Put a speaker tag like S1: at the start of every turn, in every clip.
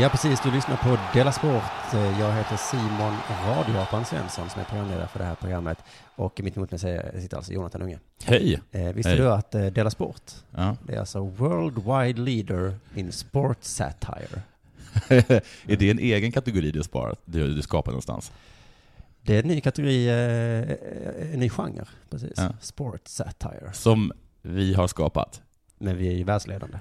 S1: Ja, precis. Du lyssnar på Della Sport. Eh, Jag heter Simon Radioapan Svensson som är programledare för det här programmet. Och mitt emot mig säger- sitter alltså Jonathan Unge.
S2: Hej!
S1: Eh, visste
S2: Hej.
S1: du att eh, Della Sport,
S2: Ja.
S1: det är alltså worldwide leader in sport satire.
S2: är det en egen kategori du, sparat, du, du skapar någonstans?
S1: Det är en ny kategori, eh, en ny genre, precis.
S2: Ja.
S1: Sport satire.
S2: Som vi har skapat.
S1: Men vi är ju världsledande,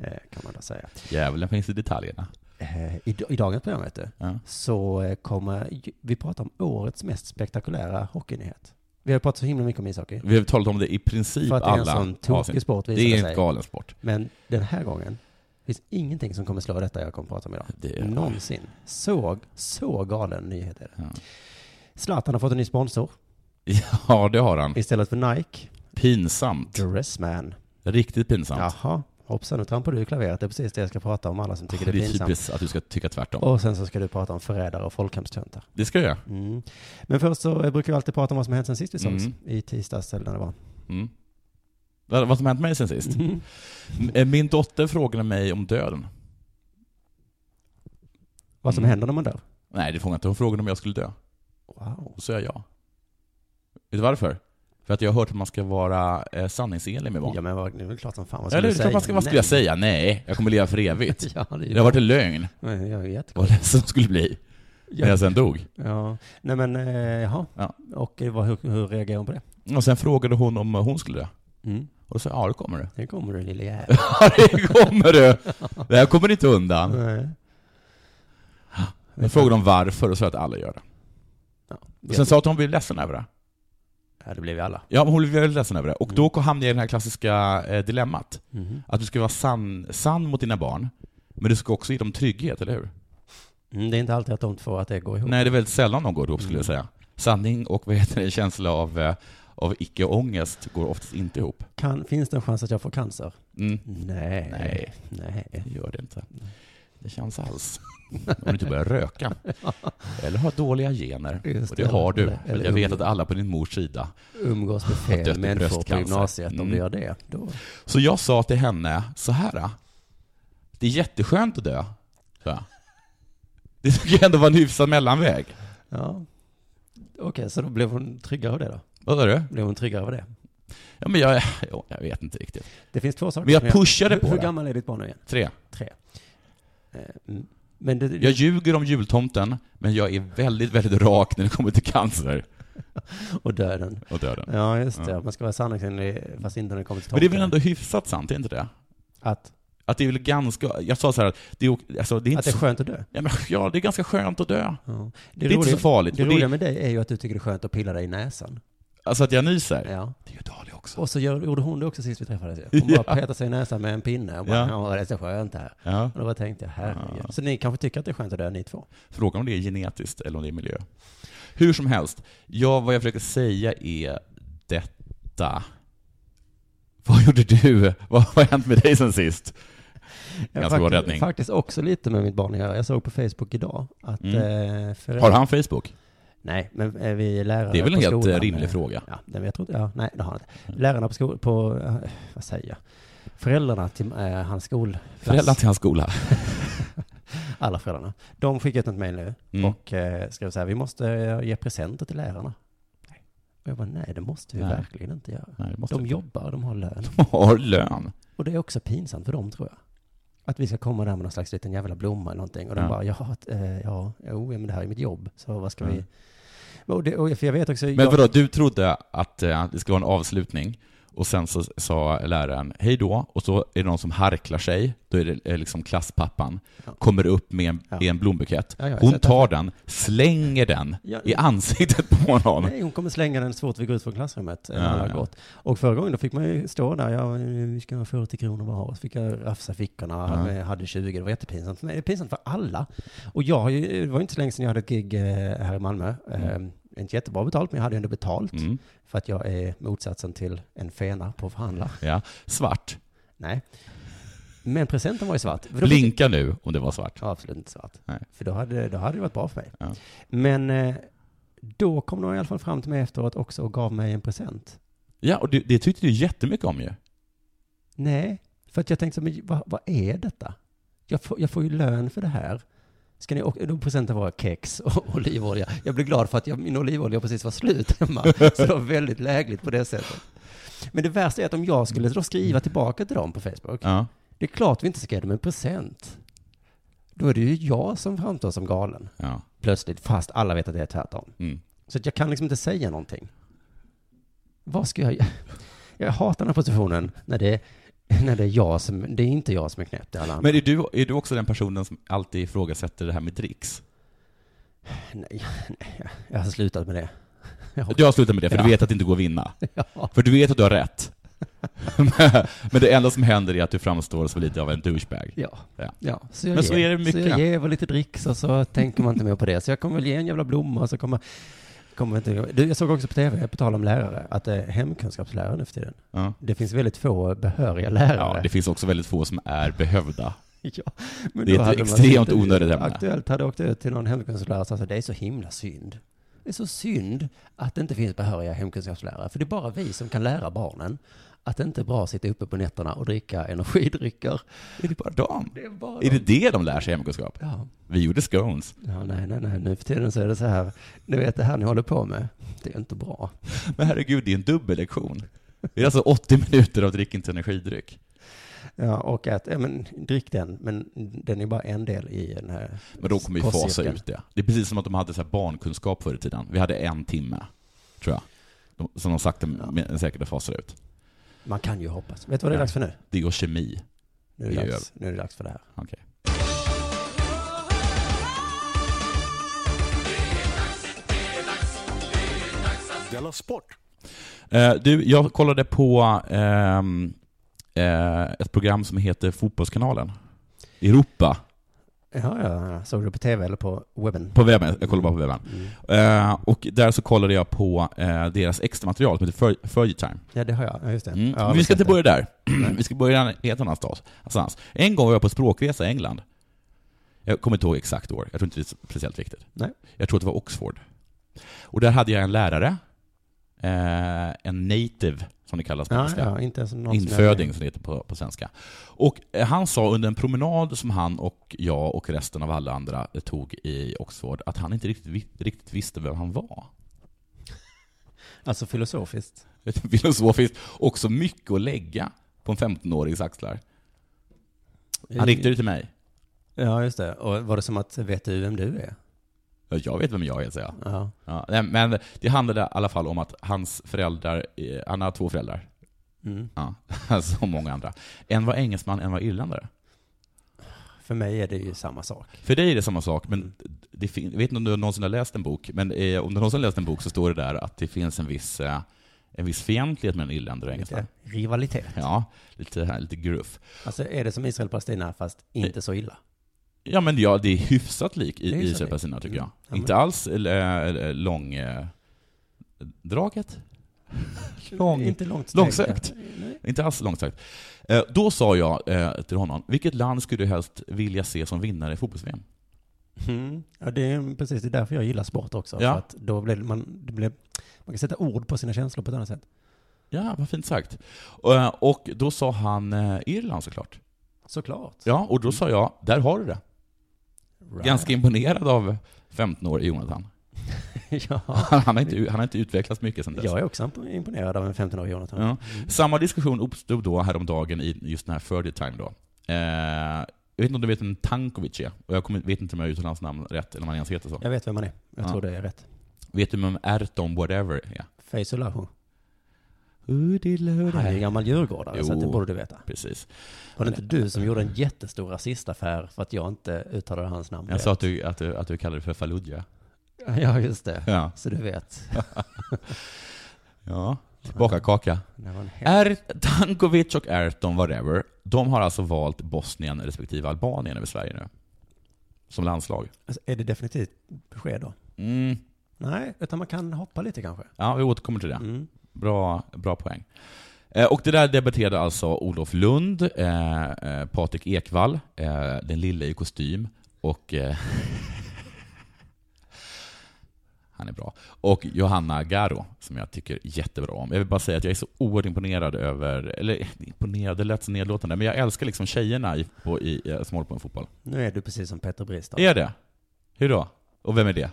S1: eh, kan man då säga.
S2: Djävulen finns i detaljerna.
S1: Eh, i, I dagens program, vet du,
S2: Ja.
S1: så eh, kommer vi prata om årets mest spektakulära hockeynyhet. Vi har ju pratat så himla mycket om ishockey.
S2: Vi har talat om det i princip
S1: För att det är en
S2: Mm. Typ alla
S1: sån tokig sport
S2: Det är
S1: visar
S2: en
S1: sig.
S2: galen sport.
S1: Men den här gången finns ingenting som kommer slå detta jag kommer prata om idag.
S2: Det är-
S1: Någonsin. Så, så galen nyhet är det.
S2: Ja.
S1: Zlatan har fått en ny sponsor.
S2: ja, det har han.
S1: Istället för Nike,
S2: Pinsamt.
S1: Dressman.
S2: Riktigt pinsamt.
S1: Jaha, hoppsan, nu trampade du i klaveret. Det är precis det jag ska prata om, alla som tycker det är
S2: det är
S1: pinsamt.
S2: typiskt att du ska tycka tvärtom.
S1: Och sen så ska du prata om förrädare och folkhemstöntar.
S2: Det ska jag göra.
S1: Mm. Men först så eh, brukar vi alltid prata om vad som hänt sen sist vi sågs.
S2: Mm.
S1: I tisdags eller när det var. Mm.
S2: Mm. Vad vad som hänt mig sen sist? M- Min dotter frågade mig om döden.
S1: Vad som
S2: Mm.
S1: händer när man dör.
S2: Nej, det frågade jag inte. Hon frågade om jag skulle dö.
S1: Wow.
S2: Och så är jag ja. Vet du varför? För att jag har hört att man ska vara eh, sanningsenlig med barn.
S1: Ja men vad- det är väl klart som fan vad
S2: Eller
S1: du
S2: hur? Vad ska- vad skulle jag säga? Nej, jag kommer leva för evigt.
S1: Ja, det är ju
S2: Det har varit en lögn.
S1: Nej, Jag är
S2: Vad
S1: jättekonstigt.
S2: ledsen jag skulle bli när jag sen dog.
S1: Ja. Nej men, eh, jaha.
S2: Ja.
S1: Och eh, vad, hur, hur reagerar hon på det?
S2: Och sen frågade hon om hon skulle dö.
S1: Mm.
S2: Och så sa jag, ja det kommer du.
S1: Nu kommer du lille jävel.
S2: Ja det kommer du! Det här kommer inte undan.
S1: Nej.
S2: Jag frågade om varför och sa att alla gör det.
S1: Ja.
S2: Och sen sa hon att hon blev ledsen över det.
S1: ja, det blev vi alla.
S2: Ja, men hon blev väldigt ledsen över det. Och då hamnade jag i det här klassiska eh, dilemmat.
S1: Mhm.
S2: Att du ska vara sann, sann mot dina barn, men du ska också ge dem trygghet, eller hur?
S1: Mm, det är inte alltid att de två, att det går ihop.
S2: Nej, det är väldigt sällan de går ihop skulle jag säga. Sanning och vad heter det, en känsla av, eh, av icke-ångest går oftast inte ihop.
S1: Kan, finns det en chans att jag får cancer?
S2: Mm.
S1: Nej.
S2: Nej,
S1: Nej.
S2: det gör det inte. Det känns alls. Om du inte börjar röka. Eller har dåliga gener.
S1: Just
S2: och det
S1: det.
S2: har du.
S1: Eller-
S2: för
S1: eller
S2: jag vet
S1: ung.
S2: att alla på din mors sida.
S1: Umgås med
S2: Dött
S1: fel
S2: i
S1: människor på
S2: bröstcancer.
S1: gymnasiet om
S2: Mm.
S1: du gör det. Då.
S2: Så jag sa till henne så här. ah, Det är jätteskönt att dö. sa jag. Det ska ju ändå vara en hyfsad mellanväg.
S1: Ja. Okej, så då blev hon tryggare av det då?
S2: Vad sa du?
S1: Blev hon tryggare av det?
S2: Ja, men jag, jo, jag vet inte riktigt.
S1: Det finns två saker.
S2: Men jag
S1: som
S2: pushade
S1: hur,
S2: på
S1: Hur
S2: det.
S1: gammal är ditt barn nu igen?
S2: Tre.
S1: Tre. Eh, mm. Men det,
S2: Jag ljuger om jultomten, men jag är väldigt, väldigt rak när det kommer till cancer
S1: och döden.
S2: och döden.
S1: Ja, just det.
S2: Ja.
S1: Man ska vara sanningsenlig, fast inte när det kommer till
S2: Men det är
S1: tomten.
S2: väl ändå hyfsat sant, är inte det?
S1: Att,
S2: Att det är väl ganska... Jag sa så här att det är, ok- alltså, det är
S1: att det
S2: inte...
S1: är
S2: så-
S1: skönt att dö.
S2: ja, men, ja, det är ganska skönt att dö.
S1: Ja.
S2: Det är inte så farligt.
S1: Det
S2: Och det-
S1: roliga med dig är ju att du tycker det är skönt att pilla dig i näsan.
S2: Alltså att jag nyser.
S1: Ja.
S2: Det är ju dåligt också.
S1: Och så gör, gjorde hon det också sist vi träffades ju. Hon bara
S2: Ja.
S1: petade sig i näsan med en pinne och bara, ja,
S2: Ja.
S1: det är så skönt det här.
S2: Ja.
S1: Och då bara tänkte jag, herregud.
S2: Ja.
S1: Så ni kanske tycker att det är skönt att dö, ni två?
S2: Frågan om det är genetiskt eller om det är miljö. Hur som helst, jag, vad jag försöker säga är detta. Vad gjorde du? Vad har hänt med dig sen sist?
S1: Jag
S2: Ganska bra
S1: faktiskt-
S2: räddning.
S1: Faktiskt också lite med mitt barn att göra. Jag såg på Facebook idag att
S2: Mm.
S1: eh, föräldrar-
S2: Har han Facebook?
S1: Nej, men är vi lärare
S2: Det är väl en
S1: på
S2: helt eh,
S1: skolan,
S2: rimlig
S1: eh,
S2: fråga? Mm.
S1: Ja, det vet jag inte. Ja, nej, det har han inte. Lärarna på skolan, på, eh, vad säger jag? Föräldrarna till eh, hans skolklass,
S2: Föräldrar till hans skola.
S1: alla föräldrarna, de skickade ut ett mejl nu
S2: Mm.
S1: och eh, skrev så här, vi måste eh, ge presenter till lärarna. Och jag bara, nej, det måste vi
S2: Nej.
S1: verkligen inte göra.
S2: Nej, det måste
S1: De
S2: inte.
S1: jobbar, de har lön.
S2: har lön.
S1: Och det är också pinsamt för dem, tror jag. Att vi ska komma där med någon slags liten jävla blomma eller någonting. Och de
S2: Ja.
S1: bara, ja, eh, ja, jo, ja, men det här är mitt jobb, så vad ska
S2: Mm.
S1: vi... Och det, och, för jag vet också...
S2: Men
S1: jag-
S2: vadå, du trodde att eh, det skulle vara en avslutning och sen så sa läraren hej då och så är det någon som harklar sig, då är det eh, liksom klasspappan,
S1: Ja.
S2: kommer upp med en,
S1: Ja.
S2: i en blombukett.
S1: Ja, ja, jag har
S2: Hon
S1: sett
S2: tar den, slänger den
S1: Ja.
S2: i ansiktet på någon.
S1: Nej, hon kommer slänga den så fort vi går ut från klassrummet. eh, när
S2: Ja,
S1: alla har
S2: ja.
S1: gått. Och förra gången då fick man ju stå där, ja, vi ska ha 40 kronor bara. Och så fick jag rafsa fickorna,
S2: Ja.
S1: jag hade 20, det var jättepinsamt. Men det är pinsamt för alla. Och jag har ju, det var ju inte så länge sedan jag hade ett gig eh, här i Malmö. Mm. Inte jättebra betalt, men jag hade ju ändå betalt.
S2: Mm,
S1: För att jag är motsatsen till en fena på att förhandla.
S2: ja. Svart.
S1: Nej. Men presenten var ju svart. För då-
S2: Blinka nu om det var svart.
S1: Ja, absolut inte svart.
S2: Nej.
S1: För då hade, då hade det varit bra för mig.
S2: Ja.
S1: Men eh, då kom de i alla fall fram till mig efteråt också och gav mig en present.
S2: Ja, och det, det tyckte du jättemycket om ju.
S1: Nej, för att jag tänkte så, men vad, vad är detta? Jag får, jag får ju lön för det här. Ska ni, och då presenten var kex och olivolja. Jag blev glad för att jag, min olivolja precis var slut hemma. Så det var väldigt lägligt på det sättet. Men det värsta är att om jag skulle då skriva tillbaka till dem på Facebook.
S2: Ja.
S1: Det är klart vi inte ska ge dem en present. Då är det ju jag som framstår som galen.
S2: ja.
S1: Plötsligt, fast alla vet att det är tvärtom.
S2: Mm.
S1: Så att jag kan liksom inte säga någonting. Vad ska jag... Jag hatar den här positionen när det, när det är jag som... Det är inte jag som är knäpp, det är alla andra.
S2: Men är du, är du också den personen som alltid ifrågasätter det här med dricks?
S1: Nej, nej, jag har slutat med det.
S2: Du har slutat med det, för
S1: Ja.
S2: du vet att det inte går att vinna.
S1: Ja.
S2: För du vet att du har rätt. Men- Men det enda som händer är att du framstår som lite av en douchebag.
S1: Ja.
S2: Ja.
S1: ja. Så jag
S2: Men så
S1: ger,
S2: är det mycket.
S1: Så jag ger väl lite dricks och så tänker man inte mer på det. Så jag kommer väl ge en jävla blomma och så kommer... kommer inte, du, jag såg också på tv, på tal om lärare, att det är hemkunskapslärare nu för tiden.
S2: Ja.
S1: Det finns väldigt få behöriga lärare.
S2: Ja, det finns också väldigt få som är behövda.
S1: Ja, men
S2: Det är
S1: då
S2: ett
S1: hade man
S2: extremt
S1: inte-
S2: onödigt ämne.
S1: Aktuellt hade åkt ut till någon hemkunskapslärare och sagt att det är så himla synd. Det är så synd att det inte finns behöriga hemkunskapslärare. För det är bara vi som kan lära barnen att det inte är bra att sitta uppe på nätterna och dricka energidrycker.
S2: Är det bara dem?
S1: Det är bara
S2: Är det det de lär sig i hemkunskap?
S1: ja.
S2: Vi gjorde scones.
S1: ja, nej, nej, nej. Nu för tiden så är det så här. Ni vet det här ni håller på med. Det är inte bra.
S2: Men herregud, det är en dubbellektion. Det är alltså 80 minuter av drick inte energidryck.
S1: Ja, och att, ja, men drick den, men den är bara en del i den här
S2: Men de kommer ju fasa
S1: kostcirkeln.
S2: ut det. Det är precis som att de hade så här barnkunskap förr i tiden. Vi hade en timme, tror jag. De- Som de sakta men säkert fasar ut.
S1: Man kan ju hoppas. Vet du vad det är
S2: Ja.
S1: dags för nu?
S2: Det går kemi.
S1: Nu är
S2: Det
S1: det,
S2: är
S1: dags, nu är det dags för det här.
S2: Okej.
S3: Della Sport!
S2: Eh, Du, jag kollade på ehm, eh, ett program som heter Fotbollskanalen. Europa,
S1: Ja, ja, ja. Såg du på tv eller på webben?
S2: på webben. Jag kollar bara på webben.
S1: Mm.
S2: Eh, Och där så kollade jag på eh, deras extra material som heter Fer- Fergie Time.
S1: Ja, det har jag. Ja, just det. Ja,
S2: Mm. Men vi ska
S1: visst
S2: inte börja där. vi ska börja i ett annat stad. Annanstans. En gång var jag på språkresa i England. Jag kommer inte ihåg exakt år, jag tror inte det är speciellt viktigt.
S1: Nej.
S2: Jag tror att det var Oxford. Och där hade jag en lärare, eh, en native som det kallas på
S1: Ah, Ja,
S2: engelska.
S1: ja, inte ens någon som
S2: Inföding som det heter på, på svenska. Och eh, han sa under en promenad som han och jag och resten av alla andra eh, tog i Oxford att han inte riktigt, vi- riktigt visste vem han var.
S1: jag- Alltså filosofiskt.
S2: Filosofiskt också mycket att lägga på en 15-årigs axlar. Han riktade det till mig.
S1: Ja, just det. Och var det som att, vet du vem du är?
S2: Ja, Jag vet vem jag är, säger jag.
S1: Ja.
S2: Ja, nej, men det handlade i alla fall om att hans föräldrar, eh, han har två föräldrar,
S1: Mm.
S2: ja, som många andra. En var engelsman, en var irländare.
S1: För mig är det ju samma sak.
S2: För dig är det samma sak, men det fin- jag vet inte om du någonsin har läst en bok, men eh, om du någonsin har läst en bok så står det där att det finns en viss, eh, en viss fientlighet mellan irländare och engelsmän.
S1: Lite rivalitet.
S2: Ja, lite, här, lite gruff.
S1: Alltså, är det som Israel och Palestina, fast inte så illa?
S2: Ja, men ja, det är hyfsat lik
S1: Det är
S2: i, i
S1: hyfsat
S2: Israel
S1: lik.
S2: Palestina, tycker jag.
S1: Mm. Ja, men-
S2: Inte alls äh, lång... eh, draget? Lång-
S1: inte långt steg.
S2: långsökt.
S1: Nej.
S2: Inte alls långt sagt. Eh, Då sa jag eh, till honom, vilket land skulle du helst vilja se som vinnare i fotbolls -VM?
S1: Mm. Ja, det är precis det är därför jag gillar sport också.
S2: Ja.
S1: För att då blir man, det blir, man kan sätta ord på sina känslor på ett annat sätt.
S2: Ja, vad fint sagt. Eh, Och då sa han eh, Irland såklart.
S1: Såklart.
S2: Ja, och då sa jag, där har du det.
S1: Right.
S2: Ganska imponerad av 15-årige Jonathan.
S1: ja.
S2: Han har, inte, han har inte utvecklats mycket sedan dess.
S1: Jag är också imponerad av en 15-årig Jonathan.
S2: Ja. Samma diskussion uppstod då häromdagen i just den här Ferdy Time då. Eh, jag vet inte om du vet vem Tankovic är? Och jag kommer, vet inte om jag uttalar hans namn rätt, eller om han ens heter så.
S1: Jag vet vem man är. Jag
S2: Ja.
S1: tror det är rätt.
S2: Vet du vem Erton Whatever är?
S1: Faisulahu. Han är en
S2: Nej.
S1: gammal djurgårdare, så
S2: Jo.
S1: att det borde du veta.
S2: Precis.
S1: Var det inte du som gjorde en jättestor rasistaffär för att jag inte uttalade hans namn?
S2: Jag sa att du, att du, att du kallade det för Fallujah.
S1: Ja, just det.
S2: Ja.
S1: Så du vet.
S2: ja. Tillbaka kaka.
S1: Det var en hel...
S2: Er, Tankovic och Erton Whatever, de har alltså valt Bosnien respektive Albanien över Sverige nu. Som landslag.
S1: alltså, är det definitivt besked då?
S2: Mm.
S1: Nej, utan man kan hoppa lite kanske.
S2: Ja, vi återkommer till det.
S1: Mm.
S2: Bra, bra poäng. Eh, Och det där debatterade alltså Olof Lund, eh, eh, Patrik Ekwall, eh, den lilla i kostym och... Eh, han är bra. Och Johanna Garo, som jag tycker jättebra om. Jag vill bara säga att jag är så oerhört imponerad över, eller imponerad, det lät så nedlåtande, men jag älskar liksom tjejerna i, på, i, eh, som håller på med fotboll.
S1: Nu är du precis som Petter Bristav.
S2: Är det? Hur då? Och vem är det?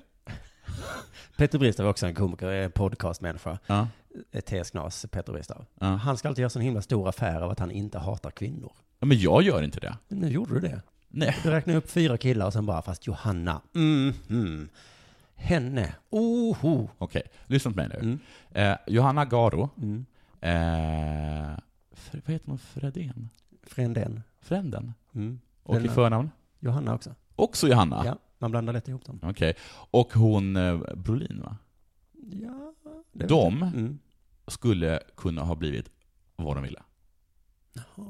S1: Petter Bristav är också en komiker, en podcastmänniska.
S2: Ja.
S1: Ett TS Knas, Petter Bristav.
S2: Ja.
S1: Han ska alltid göra sån himla stor affär av att han inte hatar kvinnor.
S2: Ja, Men jag gör inte det.
S1: Men nu gjorde du det.
S2: Nej.
S1: Du räknade upp fyra killar och sen bara, fast Johanna, mm, mm. Henne, oho.
S2: Okej, lyssna på mig nu.
S1: Mm.
S2: Eh, Johanna Garo,
S1: Mm.
S2: Eh, Fre- vad heter hon? Fredén?
S1: Frändén.
S2: Fränden?
S1: Mm.
S2: Och i
S1: Fränden.
S2: förnamn?
S1: Johanna också.
S2: Också Johanna?
S1: Ja, man blandar lätt ihop dem.
S2: Okej. Och hon eh, Brolin, va?
S1: Ja, det vet
S2: De
S1: jag. Mm.
S2: skulle kunna ha blivit vad de ville.
S1: Jaha.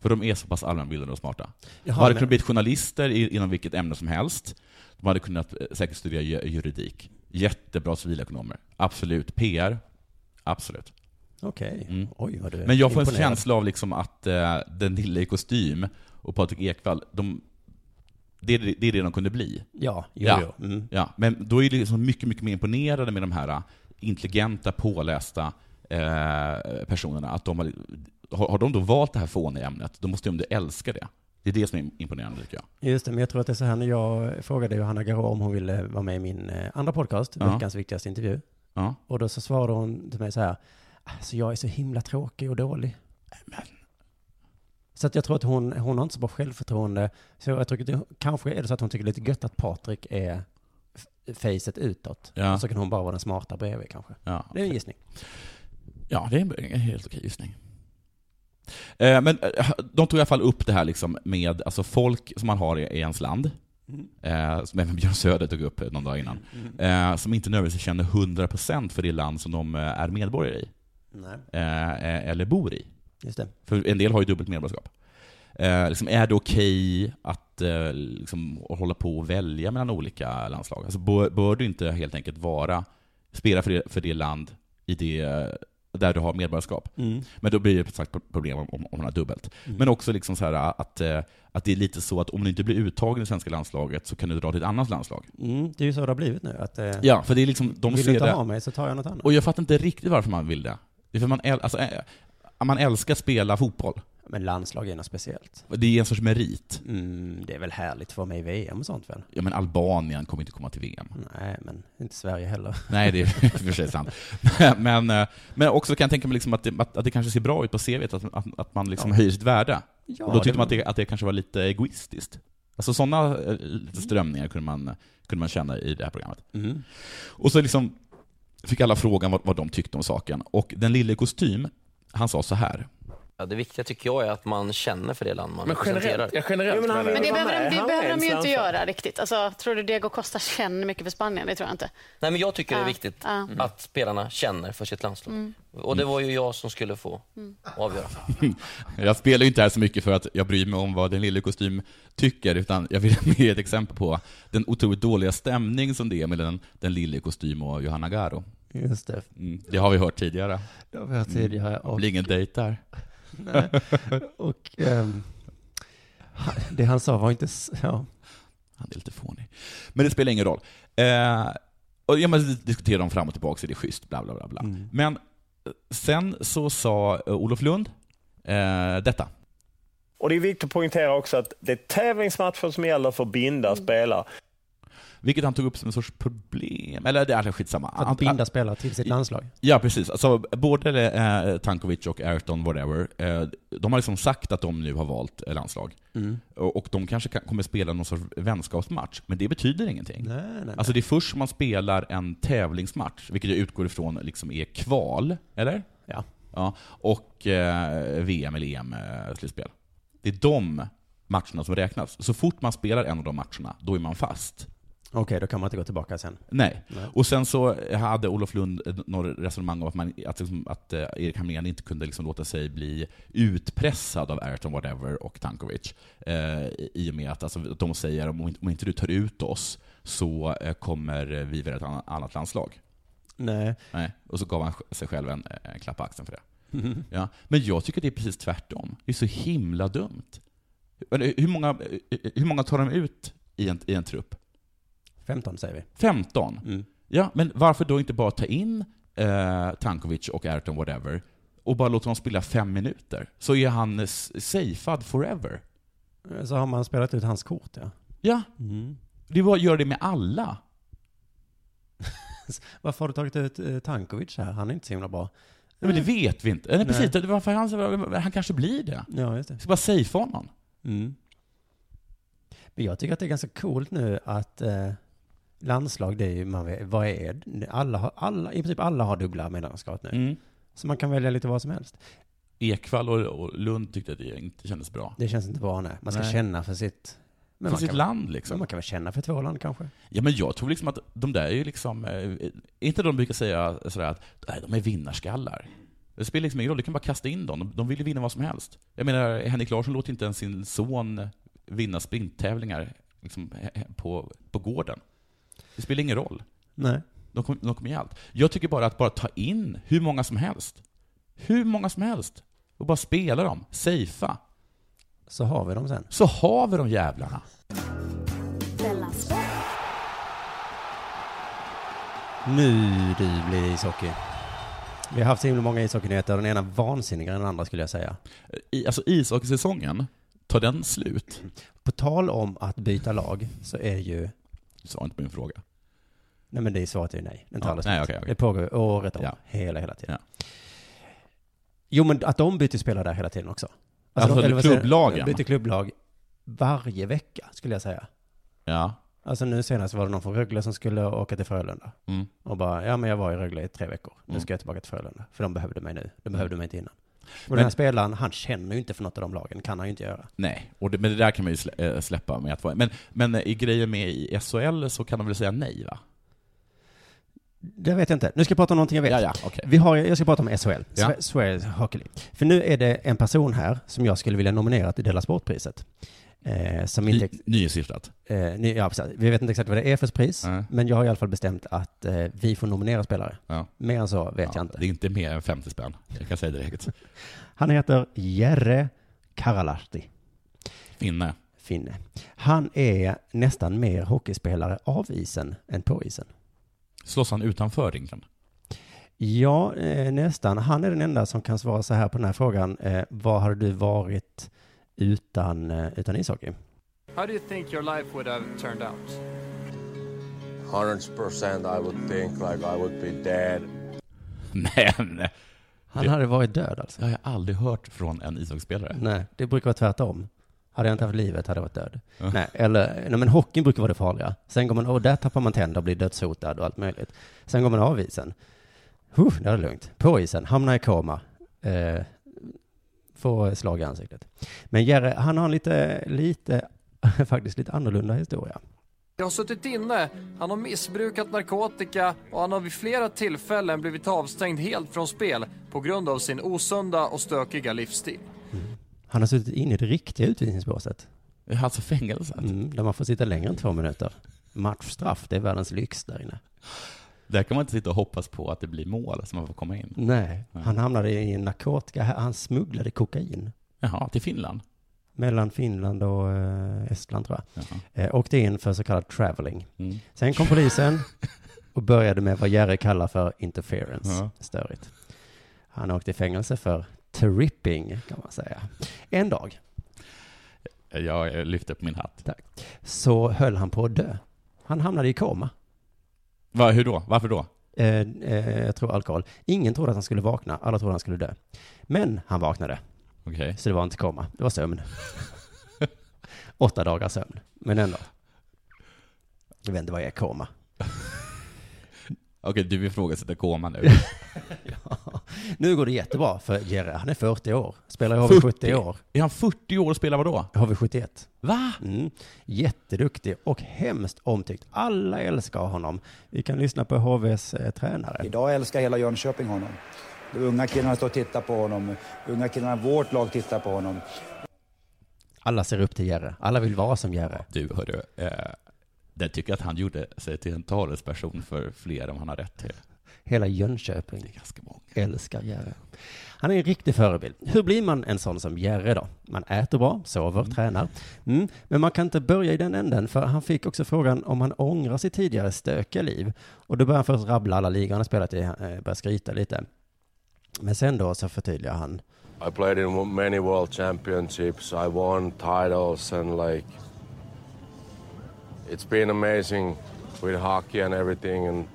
S2: För de är så pass allmänbildade och smarta.
S1: Jaha,
S2: de hade
S1: men-
S2: kunnat bli journalister i, inom vilket ämne som helst. De hade kunnat eh, säkert studera ju- juridik. Jättebra civilekonomer. Absolut. PR. Absolut.
S1: Okej.
S2: Mm.
S1: Oj, vad du är
S2: Men jag får en
S1: imponerad.
S2: känsla av liksom att eh, den lilla i kostym och Patrik Ekwall, de, det, är det det är det de kunde bli.
S1: Ja, jo,
S2: Ja.
S1: jo. Mm.
S2: Ja, men då är det liksom mycket, mycket mer imponerande med de här eh, intelligenta, pålästa eh, personerna. Att de har, har har de då valt det här fåniga ämnet, då måste de ju älska det. Det är det som är imponerande tycker jag.
S1: Just det, men jag tror att det är så här när jag frågade Johanna Garå om hon ville vara med i min eh, andra podcast,
S2: Ja.
S1: Veckans viktigaste intervju.
S2: Ja.
S1: Och då så svarade hon till mig så här, alltså jag är så himla tråkig och dålig. Så att jag tror att hon, hon har inte så bra självförtroende. Så jag tror att det, kanske är det så att hon tycker det är lite gött att Patrik är f- facet utåt.
S2: Ja.
S1: Och så kan hon bara vara den smarta bredvid kanske.
S2: Ja.
S1: Det är en gissning.
S2: Ja, det är en en helt okej gissning. Eh, Men eh, de tog i alla fall upp det här liksom med alltså folk som man har i i ens land, eh, som även Björn Söder tog upp någon dag innan, eh, som inte nödvändigtvis känner 100% för det land som de eh, är medborgare i,
S1: Nej,
S2: eh, eh, eller bor i.
S1: just det.
S2: För en del har ju dubbelt medborgarskap. Eh, liksom, är det okej att eh, liksom, hålla på och välja mellan olika landslag? Alltså, bör, bör du inte helt enkelt vara, spela för det, för det land i det, där du har medborgarskap? Men då blir det som sagt problem om, om om man har dubbelt. Men också liksom så här, att, eh, att det är lite så att om du inte blir uttagen i svenska landslaget så kan du dra till ett annat landslag.
S1: Mm, det är ju så det har blivit nu. Att, eh,
S2: Ja, för det är liksom, de
S1: vill du
S2: ser
S1: inte
S2: det.
S1: ha mig så tar jag något annat.
S2: Och jag fattar inte riktigt varför man vill det. Det är för man, äl, alltså, eh, man älskar att spela fotboll.
S1: Men landslag är något speciellt.
S2: Det är en sorts merit.
S1: Mm, det är väl härligt för mig i VM och sånt väl?
S2: Ja, men Albanien kommer inte komma till VM.
S1: Nej, men inte Sverige heller.
S2: Nej, det är i och för sig sant. Men, men, eh, men också kan jag tänka mig liksom att, det, att, att det kanske ser bra ut på CVt, att, att, att man liksom höjer sitt värde.
S1: Ja,
S2: Och då tyckte man att det, att det kanske var lite egoistiskt. Alltså sådana eh, lite strömningar kunde man, kunde man känna i det här programmet.
S1: Mm.
S2: Och så liksom fick alla frågan vad, vad de tyckte om saken. Och den lille i kostym, han sa så här.
S4: Ja, det viktiga tycker jag är att man känner för det land man
S5: Men
S4: representerar.
S5: generellt, ja, generellt
S6: Men han-
S5: menar jag.
S6: Vad
S7: Men det
S6: nej,
S7: behöver de, det
S6: han är
S7: behöver de ju
S6: ensam
S7: inte
S6: för.
S7: göra riktigt. Alltså, tror du Diego Costa känner mycket för Spanien? Det tror jag inte.
S4: Nej, men jag tycker det är
S7: Ja,
S4: viktigt
S7: ja.
S5: Mm.
S4: att spelarna känner för sitt landslag. Och det var ju jag som skulle få avgöra.
S2: Jag spelar ju inte här så mycket för att jag bryr mig om vad den lille kostym tycker, utan jag vill ge ett exempel på den otroligt dåliga stämning som det är mellan den lille kostym och Johanna Garo.
S1: Just det.
S2: Mm, det har vi hört tidigare.
S1: Det har vi hört tidigare.
S2: Det
S1: Och,
S2: blir ingen dejt där.
S1: nej, och ehm, han- det han sa var inte... s- Ja.
S2: Han är lite fånig. Men det spelar ingen roll. Eh, och jag måste diskutera dem fram och tillbaka, så det är schysst, bla bla bla. bla.
S1: Mm.
S2: Men eh, sen så sa eh, Olof Lund eh, detta.
S6: Och det är viktigt att poängtera också att det är tävlingsmatcher som gäller för binda
S8: Mm.
S6: spelare.
S2: Vilket han tog upp som en sorts problem, eller det är alltså skitsamma.
S1: Att
S2: Han-
S1: binda spelare till sitt landslag.
S2: Ja, precis. Alltså, både eh, Tankovic och Ayrton, whatever, eh, de har liksom sagt att de nu har valt eh, landslag.
S1: Mm.
S2: Och, och de kanske kan, kommer spela någon sorts vänskapsmatch, men det betyder ingenting.
S1: Nej, nej, nej.
S2: Alltså det är först man spelar en tävlingsmatch, vilket jag utgår ifrån liksom är kval, eller?
S1: Ja.
S2: ja och eh, VM eller EM-slutspel. Det är de matcherna som räknas. Så fort man spelar en av de matcherna, då är man fast.
S1: Okej, då kan man inte gå tillbaka sen.
S2: Nej.
S1: Nej.
S2: Och sen så hade Olof Lund eh, några resonemang om att, man, att, liksom, att eh, Erik Hamrén inte kunde liksom låta sig bli utpressad av Ayrton Whatever och Tankovic. Eh, i- I och med att, alltså, att de säger om, inte- om inte du tar ut oss så eh, kommer vi välja ett anna- annat landslag.
S1: Nej.
S2: Nej. Och så gav han sj- sig själv en, en klapp på axeln för det.
S1: Mm.
S2: Ja. Men jag tycker det är precis tvärtom. Det är så himla dumt. Eller Hur många, eh, hur många tar de ut i en, i en trupp?
S1: 15 säger vi.
S2: 15?
S1: Mm.
S2: Ja, men varför då inte bara ta in eh, Tankovic och Ayrton whatever och bara låta dem spela fem minuter? Så är han s- safead forever.
S1: Eh, Så har man spelat ut hans kort, ja.
S2: Ja,
S1: Mm.
S2: det är bara att göra det med alla.
S1: Varför har du tagit ut eh, Tankovic här? Han är inte så himla bra.
S2: Nej, men det vet vi inte. Mm.
S1: Nej.
S2: Nej, precis. Det var för han, han kanske blir det.
S1: Ja, just det.
S2: Vi ska bara safea honom. Mm.
S1: Men jag tycker att det är ganska coolt nu att eh, landslag, det är ju, man vet, vad är det? Alla, har- alla, I princip alla har dubbla medlemskap nu.
S2: Mm.
S1: Så man kan välja lite vad som helst.
S2: Ekvall och, och Lund tyckte att det inte kändes bra.
S1: Det känns inte bra, nej. Man ska
S2: Nej.
S1: känna för sitt... Men
S2: För
S1: man,
S2: sitt
S1: kan,
S2: land
S1: men
S2: liksom.
S1: man kan väl känna för två land kanske?
S2: Ja, men jag tror liksom att de där är ju liksom... eh, Är inte de brukar säga sådär att nej, de är vinnarskallar? Det spelar liksom ingen roll, du kan bara kasta in dem. De- De vill ju vinna vad som helst. Jag menar, Henrik Larsson låter inte ens sin son vinna sprinttävlingar liksom, he- he- på, på gården. Det spelar ingen roll.
S1: Nej.
S2: De kommer de kommer ge allt. Jag tycker bara att bara ta in hur många som helst. Hur många som helst. Och bara spela dem. Safea.
S1: Så har vi dem sen.
S2: Så har vi de jävlarna.
S9: Della Sport.
S1: Nu du blir det ishockey. Vi har haft så himla många ishockeynyheter, den ena vansinnigare än den andra skulle jag säga.
S2: I, alltså ishockeysäsongen, tar den slut?
S1: På tal om att byta lag så är ju,
S2: Du svarade inte på min fråga.
S1: nej men det är svaret är ju nej. Den tar
S2: Ja,
S1: aldrig
S2: nej,
S1: slut.
S2: okej, okej.
S1: Det pågår ju året om,
S2: Ja.
S1: hela, hela tiden. Jo men att de byter spelare där hela tiden också.
S2: Alltså,
S1: de-
S2: det
S1: eller vad säger jag?
S2: klubblagen?
S1: De byter klubblag varje vecka skulle jag säga.
S2: Ja.
S1: Alltså nu senast var det någon från Rögle som skulle åka till Frölunda.
S2: Mm.
S1: Och bara, ja men jag var i Rögle i tre veckor. Nu
S2: Mm.
S1: ska jag tillbaka till Frölunda. För de behövde mig nu. De behövde mig inte innan. Och den
S2: Men-
S1: här spelaren, han känner ju inte för något av de lagen. Kan han ju inte göra.
S2: Nej, och det, men det där kan man ju slä- eh, släppa med att vara... Men, men eh, i grejer med i SHL så kan de väl säga nej, va?
S1: Det vet jag inte. Nu ska jag prata om någonting jag vet.
S2: Ja, ja, okej.
S1: Vi har, jag ska prata om SHL.
S2: Ja.
S1: Sve- Sveriges Hockey League. För nu är det en person här som jag skulle vilja nominera till Della Sportpriset. Eh, som inte...
S2: Ny- Nyhetsstiftat.
S1: Eh, ni, ja, precis. Vi vet inte exakt vad det är för pris.
S2: Nej.
S1: Men jag har i alla fall bestämt att eh, vi får nominera spelare.
S2: Ja.
S1: Mer än så vet jag
S2: Ja,
S1: inte.
S2: Det är inte mer än 50 spänn, jag kan säga direkt.
S1: Han heter Jere Karalahti,
S2: Finne.
S1: finne. Han är nästan mer hockeyspelare av isen än på isen.
S2: Slåss han utanför ringen?
S1: Ja, eh, nästan. Han är den enda som kan svara så här på den här frågan. Eh, vad hade du varit utan, eh, utan ishockey?
S5: How do you think your life would have turned out?
S10: 100% I would think like I would be dead.
S2: Nej, nej.
S1: Han hade varit död alltså.
S2: Det har jag aldrig hört från en ishockeyspelare.
S1: Nej, det brukar vara tvärtom. Hade jag inte haft livet hade jag varit död. Nej, eller, nej, men hockeyn brukar vara det farliga. Sen går man, och där tappar man tänder och blir dödshotad och allt möjligt. Sen går man av isen. Huh, det är det lugnt. På isen, hamnar i koma. Eh, får slag i ansiktet. Men Jerry, han har en lite, lite, faktiskt lite annorlunda historia.
S5: Jag har suttit inne, han har missbrukat narkotika och han har vid flera tillfällen blivit avstängd helt från spel på grund av sin osunda och stökiga livsstil.
S1: Han har suttit inne i det riktiga utvisningsbåset.
S2: Alltså fängelset.
S1: Mm, där man får sitta längre än två minuter. Matchstraff, det är världens lyx där inne.
S2: Där kan man inte sitta och hoppas på att det blir mål så man får komma in.
S1: Nej, han hamnade i en narkotika, han smugglade kokain.
S2: Jaha, till Finland?
S1: Mellan Finland och eh, Estland tror jag.
S2: Jaha.
S1: Eh, åkte in för så kallad traveling.
S2: Mm.
S1: Sen kom polisen och började med vad Jerry kallar för interference.
S2: Ja.
S1: Störigt. Han åkte i fängelse för tripping kan man säga. En dag
S2: Jag eh, lyfter på min hatt.
S1: så höll han på att dö. Han hamnade i koma.
S2: Va, hur då? Varför då?
S1: Eh, eh, jag tror alkohol. Ingen trodde att han skulle vakna. Alla trodde han skulle dö. Men han vaknade.
S2: Okej.
S1: Så det var inte komma, det var sömn. Åtta dagar sömn, men ändå. Jag vet inte vad jag är komma.
S2: Okej, du ifrågasätter koma nu.
S1: Nu går det jättebra för Jerry, han är 40 år. Spelar i
S2: 40?
S1: HV70 år.
S2: Är han 40 år och spelar vadå?
S1: HV71.
S2: Va?
S1: Mm. Jätteduktig och hemskt omtyckt. Alla älskar honom. Vi kan lyssna på HVs eh, tränare.
S8: Idag älskar hela Jönköping honom. De unga killarna står och tittar på honom. Unga killarna i vårt lag tittar på honom.
S1: Alla ser upp till Jerry. Alla vill vara som Jerry.
S2: Du, hörru. Eh, jag tycker att han gjorde sig till en talesperson för fler än han har rätt till.
S1: Hela Jönköping
S2: Det är ganska många.
S1: älskar Jerre. Han är en riktig förebild. Hur blir man en sån som Jerre då? Man äter bra, sover, tränar. Mm. Men man kan inte börja i den änden, för han fick också frågan om han ångrar sitt tidigare stökiga liv. Och då börjar han först rabbla alla ligor han har spelat i, eh, börjar skryta lite. Men sen då så förtydligar han.
S10: I played in many world championships. I won titles and like it's been amazing with hockey and everything and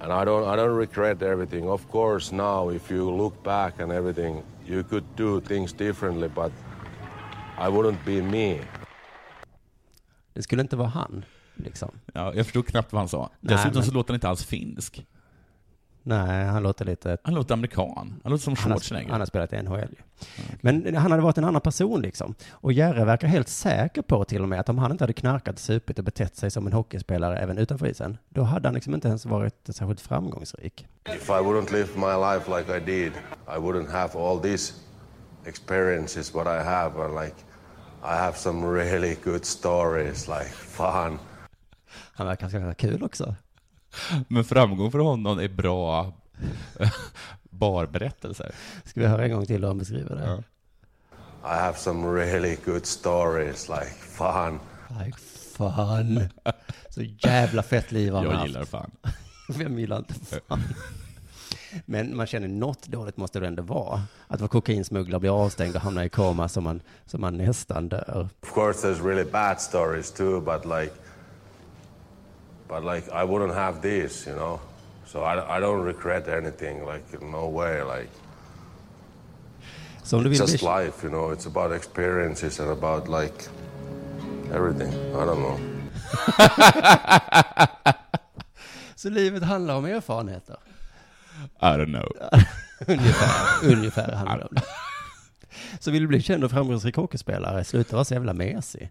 S10: and I don't I don't regret everything. Of course now if you look back and everything you could do things differently but I wouldn't be me.
S1: Det skulle inte vara han, liksom.
S2: Ja, jag förstod knappt vad han sa.
S1: Nej,
S2: Dessutom så
S1: men-
S2: låter han inte alls finsk.
S1: Nej, han låter lite
S2: Han låter amerikan. Han låter som
S1: Han har,
S2: Schwarzenegger.
S1: han har spelat i NHL ju.
S2: Mm,
S1: Men han hade varit en annan person liksom. Och Jerre verkar helt säker på till och med att om han inte hade knarkat, supit och betett sig som en hockeyspelare även utanför isen, då hade han liksom inte ens varit särskilt framgångsrik.
S10: If I wouldn't live my life like I did, I wouldn't have all these experiences what I have and like I have some really good stories like fun
S1: Han verkar ganska kul också.
S2: Men framgång för honom är bra barberättelser.
S1: Ska vi höra en gång till hur han beskriver det? Ja.
S10: I have some really good stories, like fun.
S1: Like fan. Så jävla fett liv han har
S2: Jag
S1: haft.
S2: gillar fan.
S1: Vem gillar inte fan? Men man känner något dåligt måste det ändå vara. Att vara kokainsmugglare, bli avstängd och hamna i koma som man, som man nästan dör.
S10: Of course, there's really bad stories too, but like, but like, I wouldn't have these, you know. So I, I don't regret anything, like in no way, like
S1: Så om du vill
S10: just
S1: bli
S10: life, you know. It's about experiences and about like everything. I don't know.
S1: Så livet handlar om erfarenheter?
S2: I don't know.
S1: Ungefär, ungefär handlar det om det. Så vill du bli känd och framgångsrik hockeyspelare, sluta vara så jävla mesig.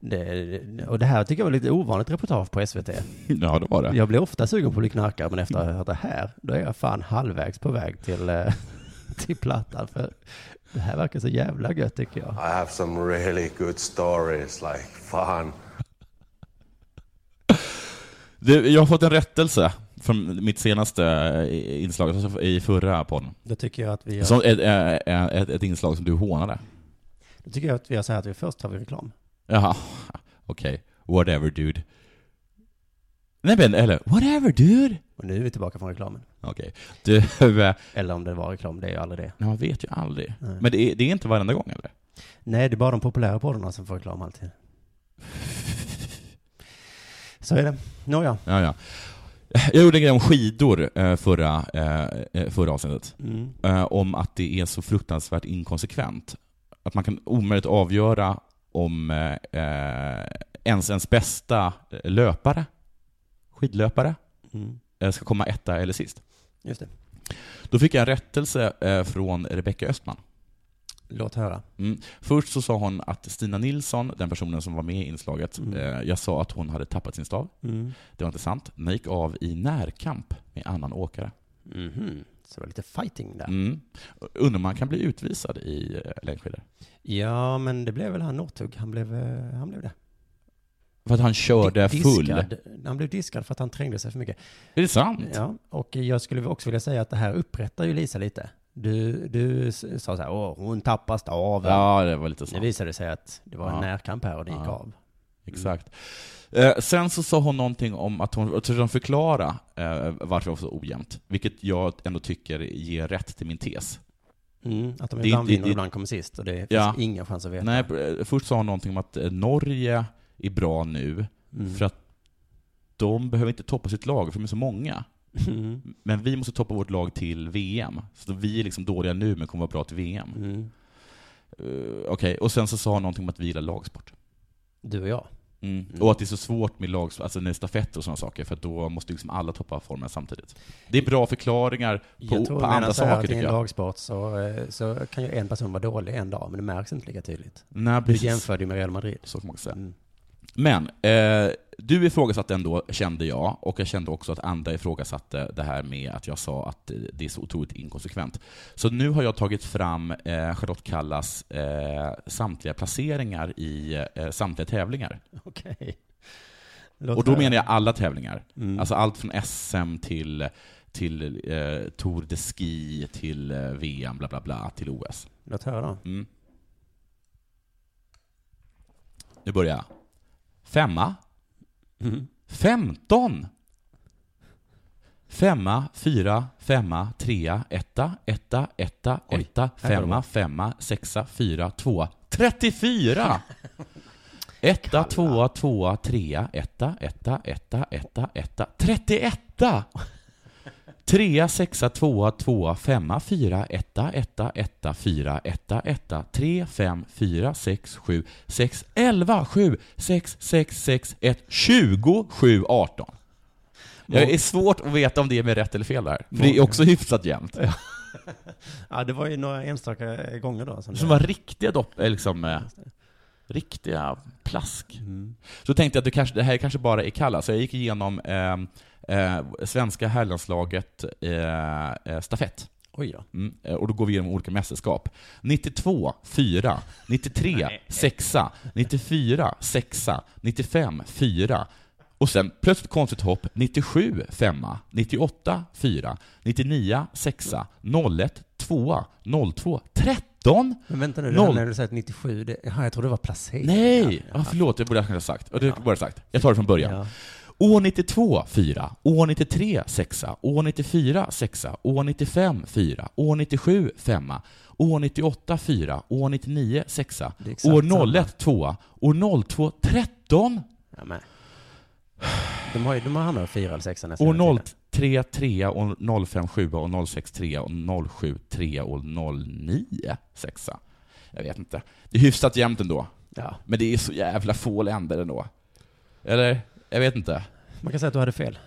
S1: Det, och det här tycker jag var lite ovanligt reportage på SVT.
S2: Ja, det var det.
S1: Jag blir ofta sugen på att bli knarkare, men efter att ha hört det här, då är jag fan halvvägs på väg till, eh, till plattan. För det här verkar så jävla gött tycker jag.
S10: I have some really good stories, like fun.
S2: Du, jag har fått en rättelse från mitt senaste inslag, alltså i förra podden.
S1: Då tycker jag att vi gör,
S2: Som ett, eh, ett, ett inslag som du hånade.
S1: då tycker jag att vi gör så här att vi först tar vi reklam.
S2: Jaha, okej. Whatever dude. Nej men, eller whatever dude.
S1: Och nu är vi tillbaka från reklamen.
S2: Okej. Du, eh,
S1: Eller om det var reklam, det är ju aldrig det.
S2: man vet ju aldrig.
S1: Nej.
S2: Men det är, det är inte varenda gång eller?
S1: Nej, det är bara de populära poddarna som får reklam alltid. Så är det. Nåja.
S2: Ja, ja. Jag gjorde en grej om skidor eh, förra, eh, eh, förra avsnittet.
S1: Mm.
S2: Eh, Om att det är så fruktansvärt inkonsekvent. Att man kan omöjligt avgöra om eh, eh, ens, ens bästa eh, löpare, skidlöpare,
S1: Mm.
S2: eh, ska komma etta eller sist.
S1: Just det.
S2: Då fick jag en rättelse eh, från Rebecka Östman.
S1: Låt höra.
S2: Mm. Först så sa hon att Stina Nilsson, den personen som var med i inslaget,
S1: Mm.
S2: eh, jag sa att hon hade tappat sin stav.
S1: Mm.
S2: Det var inte sant. Den gick av i närkamp med annan åkare.
S1: Mhm. Så det var lite fighting där.
S2: Mm. Undrar om man kan bli utvisad i eh, längdskidor?
S1: Ja, men det blev väl han Northug. Han blev, eh, han blev det.
S2: För att han körde
S1: Di-
S2: full? Är
S1: diskad. Han blev diskad för att han trängde sig för mycket.
S2: det sant?
S1: Ja, och jag skulle också vilja säga att det här upprättar ju Lisa lite. Du, du s- sa så här, åh, hon tappar staven.
S2: Ja, det var lite
S1: Nu
S2: sant.
S1: visade det sig att det var en
S2: Ja.
S1: närkamp här och det gick
S2: Ja.
S1: av.
S2: Exakt. Eh, sen så sa hon någonting om att hon, jag tror hon förklara eh, varför det var så ojämnt. Vilket jag ändå tycker ger rätt till min tes.
S1: Mm, att de
S2: Det-
S1: ibland
S2: det-
S1: vinner och
S2: det-
S1: ibland kommer sist och det finns
S2: Ja.
S1: ingen chans att veta.
S2: Nej, eh, först sa hon någonting om att eh, Norge är bra nu,
S1: Mm.
S2: för att de behöver inte toppa sitt lag, för de är så många.
S1: Mm.
S2: Men vi måste toppa vårt lag till VM. Så vi är liksom dåliga nu, men kommer vara bra till VM.
S1: Mm.
S2: Eh, Okej, och sen så sa hon någonting om att vi gillar lagsport.
S1: Du och jag.
S2: Mm. Och att det är så svårt med lag, alltså när det är stafett och sådana saker, för att då måste liksom alla toppa formen samtidigt. Det är bra förklaringar på,
S1: jag tror
S2: på
S1: menar
S2: andra
S1: så här
S2: saker
S1: att i
S2: tycker
S1: en
S2: jag.
S1: lagsport så, eh, så kan ju en person vara dålig en dag, men det märks inte lika tydligt.
S2: Nej,
S1: Du
S2: precis.
S1: jämförde ju med Real Madrid.
S2: Så kan man också säga.
S1: Mm.
S2: Men, eh, du ifrågasatte ändå, kände jag, och jag kände också att andra ifrågasatte det här med att jag sa att eh, det är så otroligt inkonsekvent. Så nu har jag tagit fram eh, Charlotte Kallas eh, samtliga placeringar i eh, samtliga tävlingar.
S1: Okej. Låt
S2: Och då
S1: höra.
S2: menar jag alla tävlingar.
S1: Mm.
S2: Alltså allt från SM till, till eh, Tour de Ski, till eh, VM, bla bla bla, till OS.
S1: Låt höra då.
S2: Mm. Nu börjar jag. Femma.
S1: Mm.
S2: Femton! Femma, fyra, femma, trea, etta, etta, etta,
S1: Oj,
S2: etta,
S1: här var det
S2: femma, femma, sexa, fyra, tvåa, trettiofyra! Etta, tvåa, tvåa, trea, etta, etta, etta, etta, etta, trettioetta! Trea, sexa, tvåa, tvåa, femma, fyra, etta, etta, etta, fyra, etta, etta, tre, fem, fyra, sex, sju, sex, elva, sju, sex, sex, sex, ett, tjugo, sju, arton. Det är svårt att veta om det är med rätt eller fel där. För det är också hyfsat jämnt.
S1: Ja, det var ju några enstaka gånger då. Som
S2: Som
S1: det-
S2: var riktiga dopp, eh, liksom, eh, riktiga plask. Så tänkte jag att det, kanske, det här kanske bara är kalla, så jag gick igenom eh, eh, svenska herrlandslaget eh, eh, stafett.
S1: Oj då.
S2: Mm. eh, Och då går vi igenom olika mästerskap. 92, 4, 93, 6, 94, 6, 95, 4. Och sen plötsligt konstigt hopp, 97, 5, 98, 4, 99, 6, 01, 2, 02, 13.
S1: Men vänta nu, det
S2: Noll.
S1: här när du säger att 97, det, jaha, jag trodde det var placering.
S2: Nej! Ja, förlåt, det borde jag kanske ha sagt. Det borde jag ha sagt. Jag tar det från början.
S1: Ja.
S2: År 92, 4. År 93, 6. År 94, 6. År 95, 4. År 97, 5. År 98, 4. År 99, 6.
S1: Det är exakt
S2: År 01, 2. År 02, 13.
S1: Ja, men. De har ju, de har hamnat på fyra eller sexa nästan. hela
S2: År
S1: tiden.
S2: 03, 3. År 05, 7. År 06, 3. År 07, 3. År 09, 6. Jag vet inte. Det är hyfsat jämnt ändå.
S1: Ja,
S2: Men det är så jävla få länder ändå. Eller? Jag vet inte.
S1: man kan säga att du hade fel.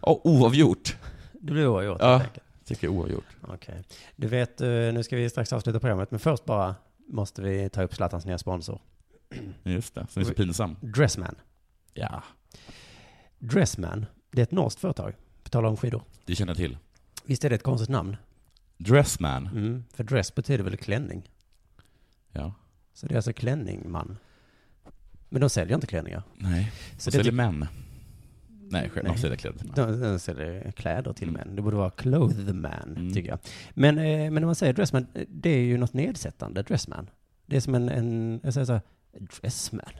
S2: Oh, oavgjort.
S1: Det blev oavgjort
S2: Ja.
S1: helt enkelt.
S2: Tycker jag oavgjort.
S1: Okej. Du vet, eh, nu ska vi strax avsluta programmet, men först bara måste vi ta upp Zlatans nya sponsor.
S2: Just det, som är så pinsam.
S1: Dressman.
S2: Ja,
S1: Dressman, det är ett norskt företag. På tal om skidor.
S2: det känner jag till.
S1: Visst är det ett konstigt namn?
S2: Dressman.
S1: Mm. För dress betyder väl klänning?
S2: Ja.
S1: Så det är alltså klänning, man. Men de säljer inte klänningar.
S2: Nej.
S1: Så
S2: Så
S1: det- typ-
S2: säljer män. Nej, själv.
S1: Nej.
S2: De säljer kläder till män.
S1: De, de säljer kläder till
S2: Mm.
S1: män. Det borde vara clothman,
S2: Mm.
S1: tycker jag. Men, eh, men när man säger dressman, eh, det är ju något nedsättande, dressman. Det är som en, en jag säger så här, dressman.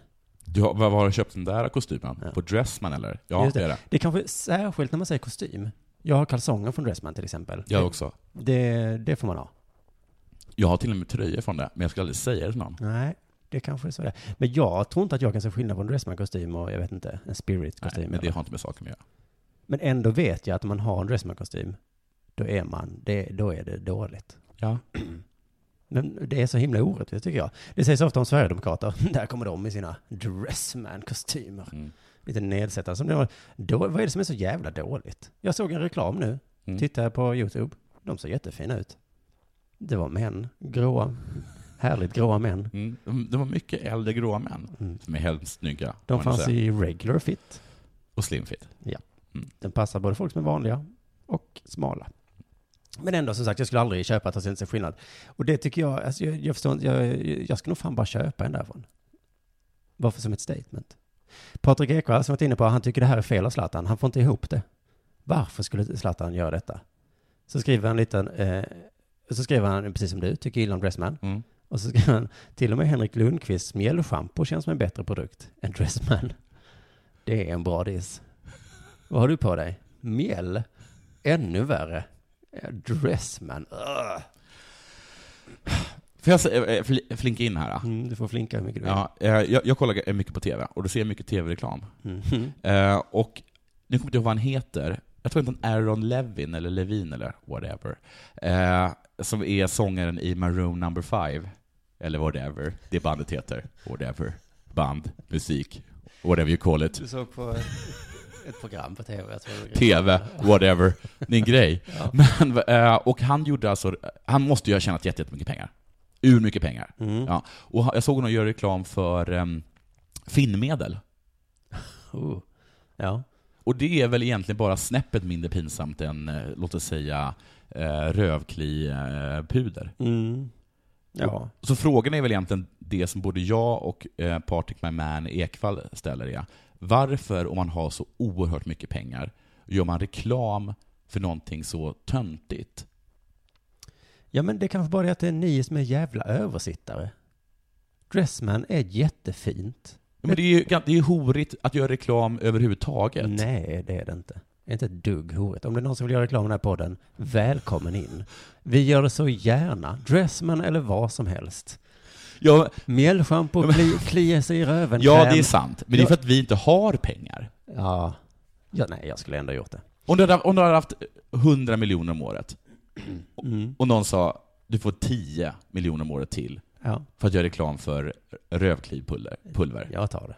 S2: Du har, var har du köpt den där kostymen?
S1: Ja.
S2: På Dressman eller? Ja,
S1: Just
S2: det. är det.
S1: Det är kanske särskilt när man säger kostym. Jag har kalsonger från Dressman till exempel.
S2: Jag också.
S1: Det, det får man ha.
S2: Jag har till och med tröjor från det, men jag skulle aldrig säga det till någon.
S1: Nej, det kanske är så det är. Men jag tror inte att jag kan se skillnad på en Dressman-kostym och jag vet inte, en
S2: Nej,
S1: Spirit-kostym.
S2: men det
S1: eller-
S2: har inte med saken att göra.
S1: men ändå vet jag att om man har en Dressman-kostym, då är man, det, då är det dåligt.
S2: Ja.
S1: Men det är så himla orättvist tycker jag. Det sägs ofta om Sverigedemokrater. Där kommer de i sina Dressman-kostymer.
S2: Mm.
S1: Lite nedsättande. Som det var, då, vad är det som är så jävla dåligt? Jag såg en reklam nu.
S2: Mm.
S1: Tittade på YouTube. De såg jättefina ut. Det var män. Gråa. Härligt gråa män.
S2: Mm. De- Det var mycket äldre gråa män
S1: Mm.
S2: som är hemskt snygga. kan
S1: De
S2: man
S1: fanns
S2: säga.
S1: i regular fit.
S2: Och slimfit.
S1: Den passar både folk som är vanliga och smala. Men ändå som sagt, jag skulle aldrig köpa att jag inte ser skillnad. Och det tycker jag, alltså, jag, jag förstår inte, jag, jag ska nog fan bara köpa en därifrån. Varför som ett statement? Patrik Ekwall som varit inne på, han tycker det här är fel av Zlatan, han får inte ihop det. Varför skulle Zlatan göra detta? Så skriver han lite, eh, så skriver han precis som du, tycker illa om Dressman.
S2: Mm.
S1: Och så skriver han, till och med Henrik Lundqvists mjällschampo känns som en bättre produkt än Dressman. Det är en bra diss. Vad har du på dig? Mjäll? Ännu värre. Eh, Dressman.
S2: Ah.
S1: Ugh.
S2: Får jag sä- eh, fli- flinka in här? Då?
S1: Mm, du får flinka hur mycket du vill.
S2: Ja, eh, jag, jag kollar g- mycket på TV, och då ser jag mycket TV-reklam.
S1: Mhm.
S2: Eh, och nu kommer jag inte ihåg vad han heter. Jag tror inte han Aaron Levin, eller Levin, eller whatever. Eh, som är sångaren i Maroon Number 5. Eller whatever det bandet heter. Whatever. Band, musik, whatever you call it.
S1: Du såg på ett program på tv, jag tror det var
S2: TV, whatever. Din grej. Men, eh, och han gjorde alltså, han måste ju ha tjänat jätte- jättemycket pengar. Ur mycket pengar.
S1: Mm.
S2: Ja. Och han- jag såg honom göra reklam för um, Finnmedel.
S1: Oh. Ja.
S2: Och det är väl egentligen bara snäppet mindre pinsamt än, eh, låt oss säga, eh, rövkli eh, puder.
S1: Mm. Ja.
S2: Så frågan är väl egentligen det som både jag och eh, Patrik My Man Ekvall ställer ja. Varför, om man har så oerhört mycket pengar, gör man reklam för någonting så töntigt?
S1: Ja, men det kanske bara är att det är ni som är jävla översittare. Dressman är jättefint.
S2: Ja, Men det är ju det är ju horigt att göra reklam överhuvudtaget.
S1: Nej, det är det inte. Det är inte ett dugg horigt. Om det är någon som vill göra reklam i den här podden, välkommen in. Vi gör det så gärna. Dressman eller vad som helst.
S2: Ja,
S1: Mjällschampo, kli, klia sig i röven.
S2: ja,
S1: kräm.
S2: det är sant. Men det är för att vi inte har pengar.
S1: Ja. ja, nej, jag skulle ändå ha gjort det.
S2: Om du hade, om du hade haft 100 miljoner om året och- och någon sa du får 10 miljoner om året till
S1: Ja,
S2: för att göra reklam för rövklivpulver. Pulver.
S1: jag tar det.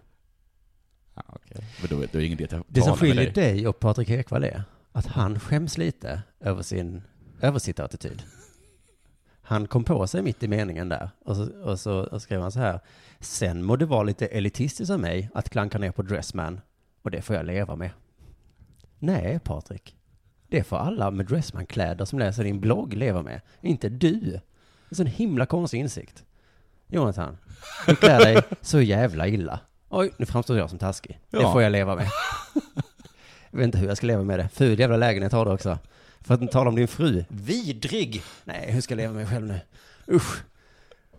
S2: Ja, okej. Men då, då är det ingen idé att jag
S1: Det som
S2: talar med
S1: skiljer
S2: dig.
S1: dig och Patrik Ekwall är att han skäms lite över sin översittarattityd. Han kom på sig mitt i meningen där och så, och så och skrev han så här. Sen må det vara lite elitistiskt av mig att klanka ner på Dressman och det får jag leva med. Nej, Patrik. Det får alla med Dressman-kläder som läser din blogg leva med. Inte du. Det är en sån himla konstig insikt. Jonathan, du klär dig så jävla illa. Oj, nu framstår jag som taskig. Det
S2: Ja.
S1: får jag leva med. Jag vet inte hur jag ska leva med det. Ful jävla lägenhet har du också. För att inte tala om din fru. Vidrig! Nej, hur ska jag leva med mig själv nu? Usch!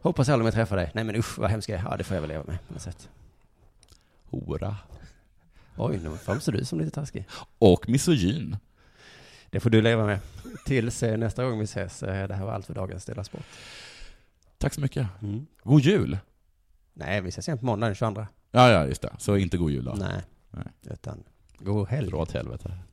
S1: Hoppas jag aldrig mer träffar dig. Nej men usch, vad hemskt jag är. Ja, det får jag väl leva med på något sätt.
S2: Hora.
S1: Oj, nu framstår du som lite taskig.
S2: Och misogyn.
S1: Det får du leva med. Tills eh, nästa gång vi ses. eh, Det här var allt för dagens Dela Sport.
S2: Tack så mycket. God jul.
S1: Nej, vi ses igen på måndag den 22.
S2: Ja, ja, just det. Så inte god jul då.
S1: Nej.
S2: Nej.
S1: Utan, god helg.
S2: Dra åt helvete.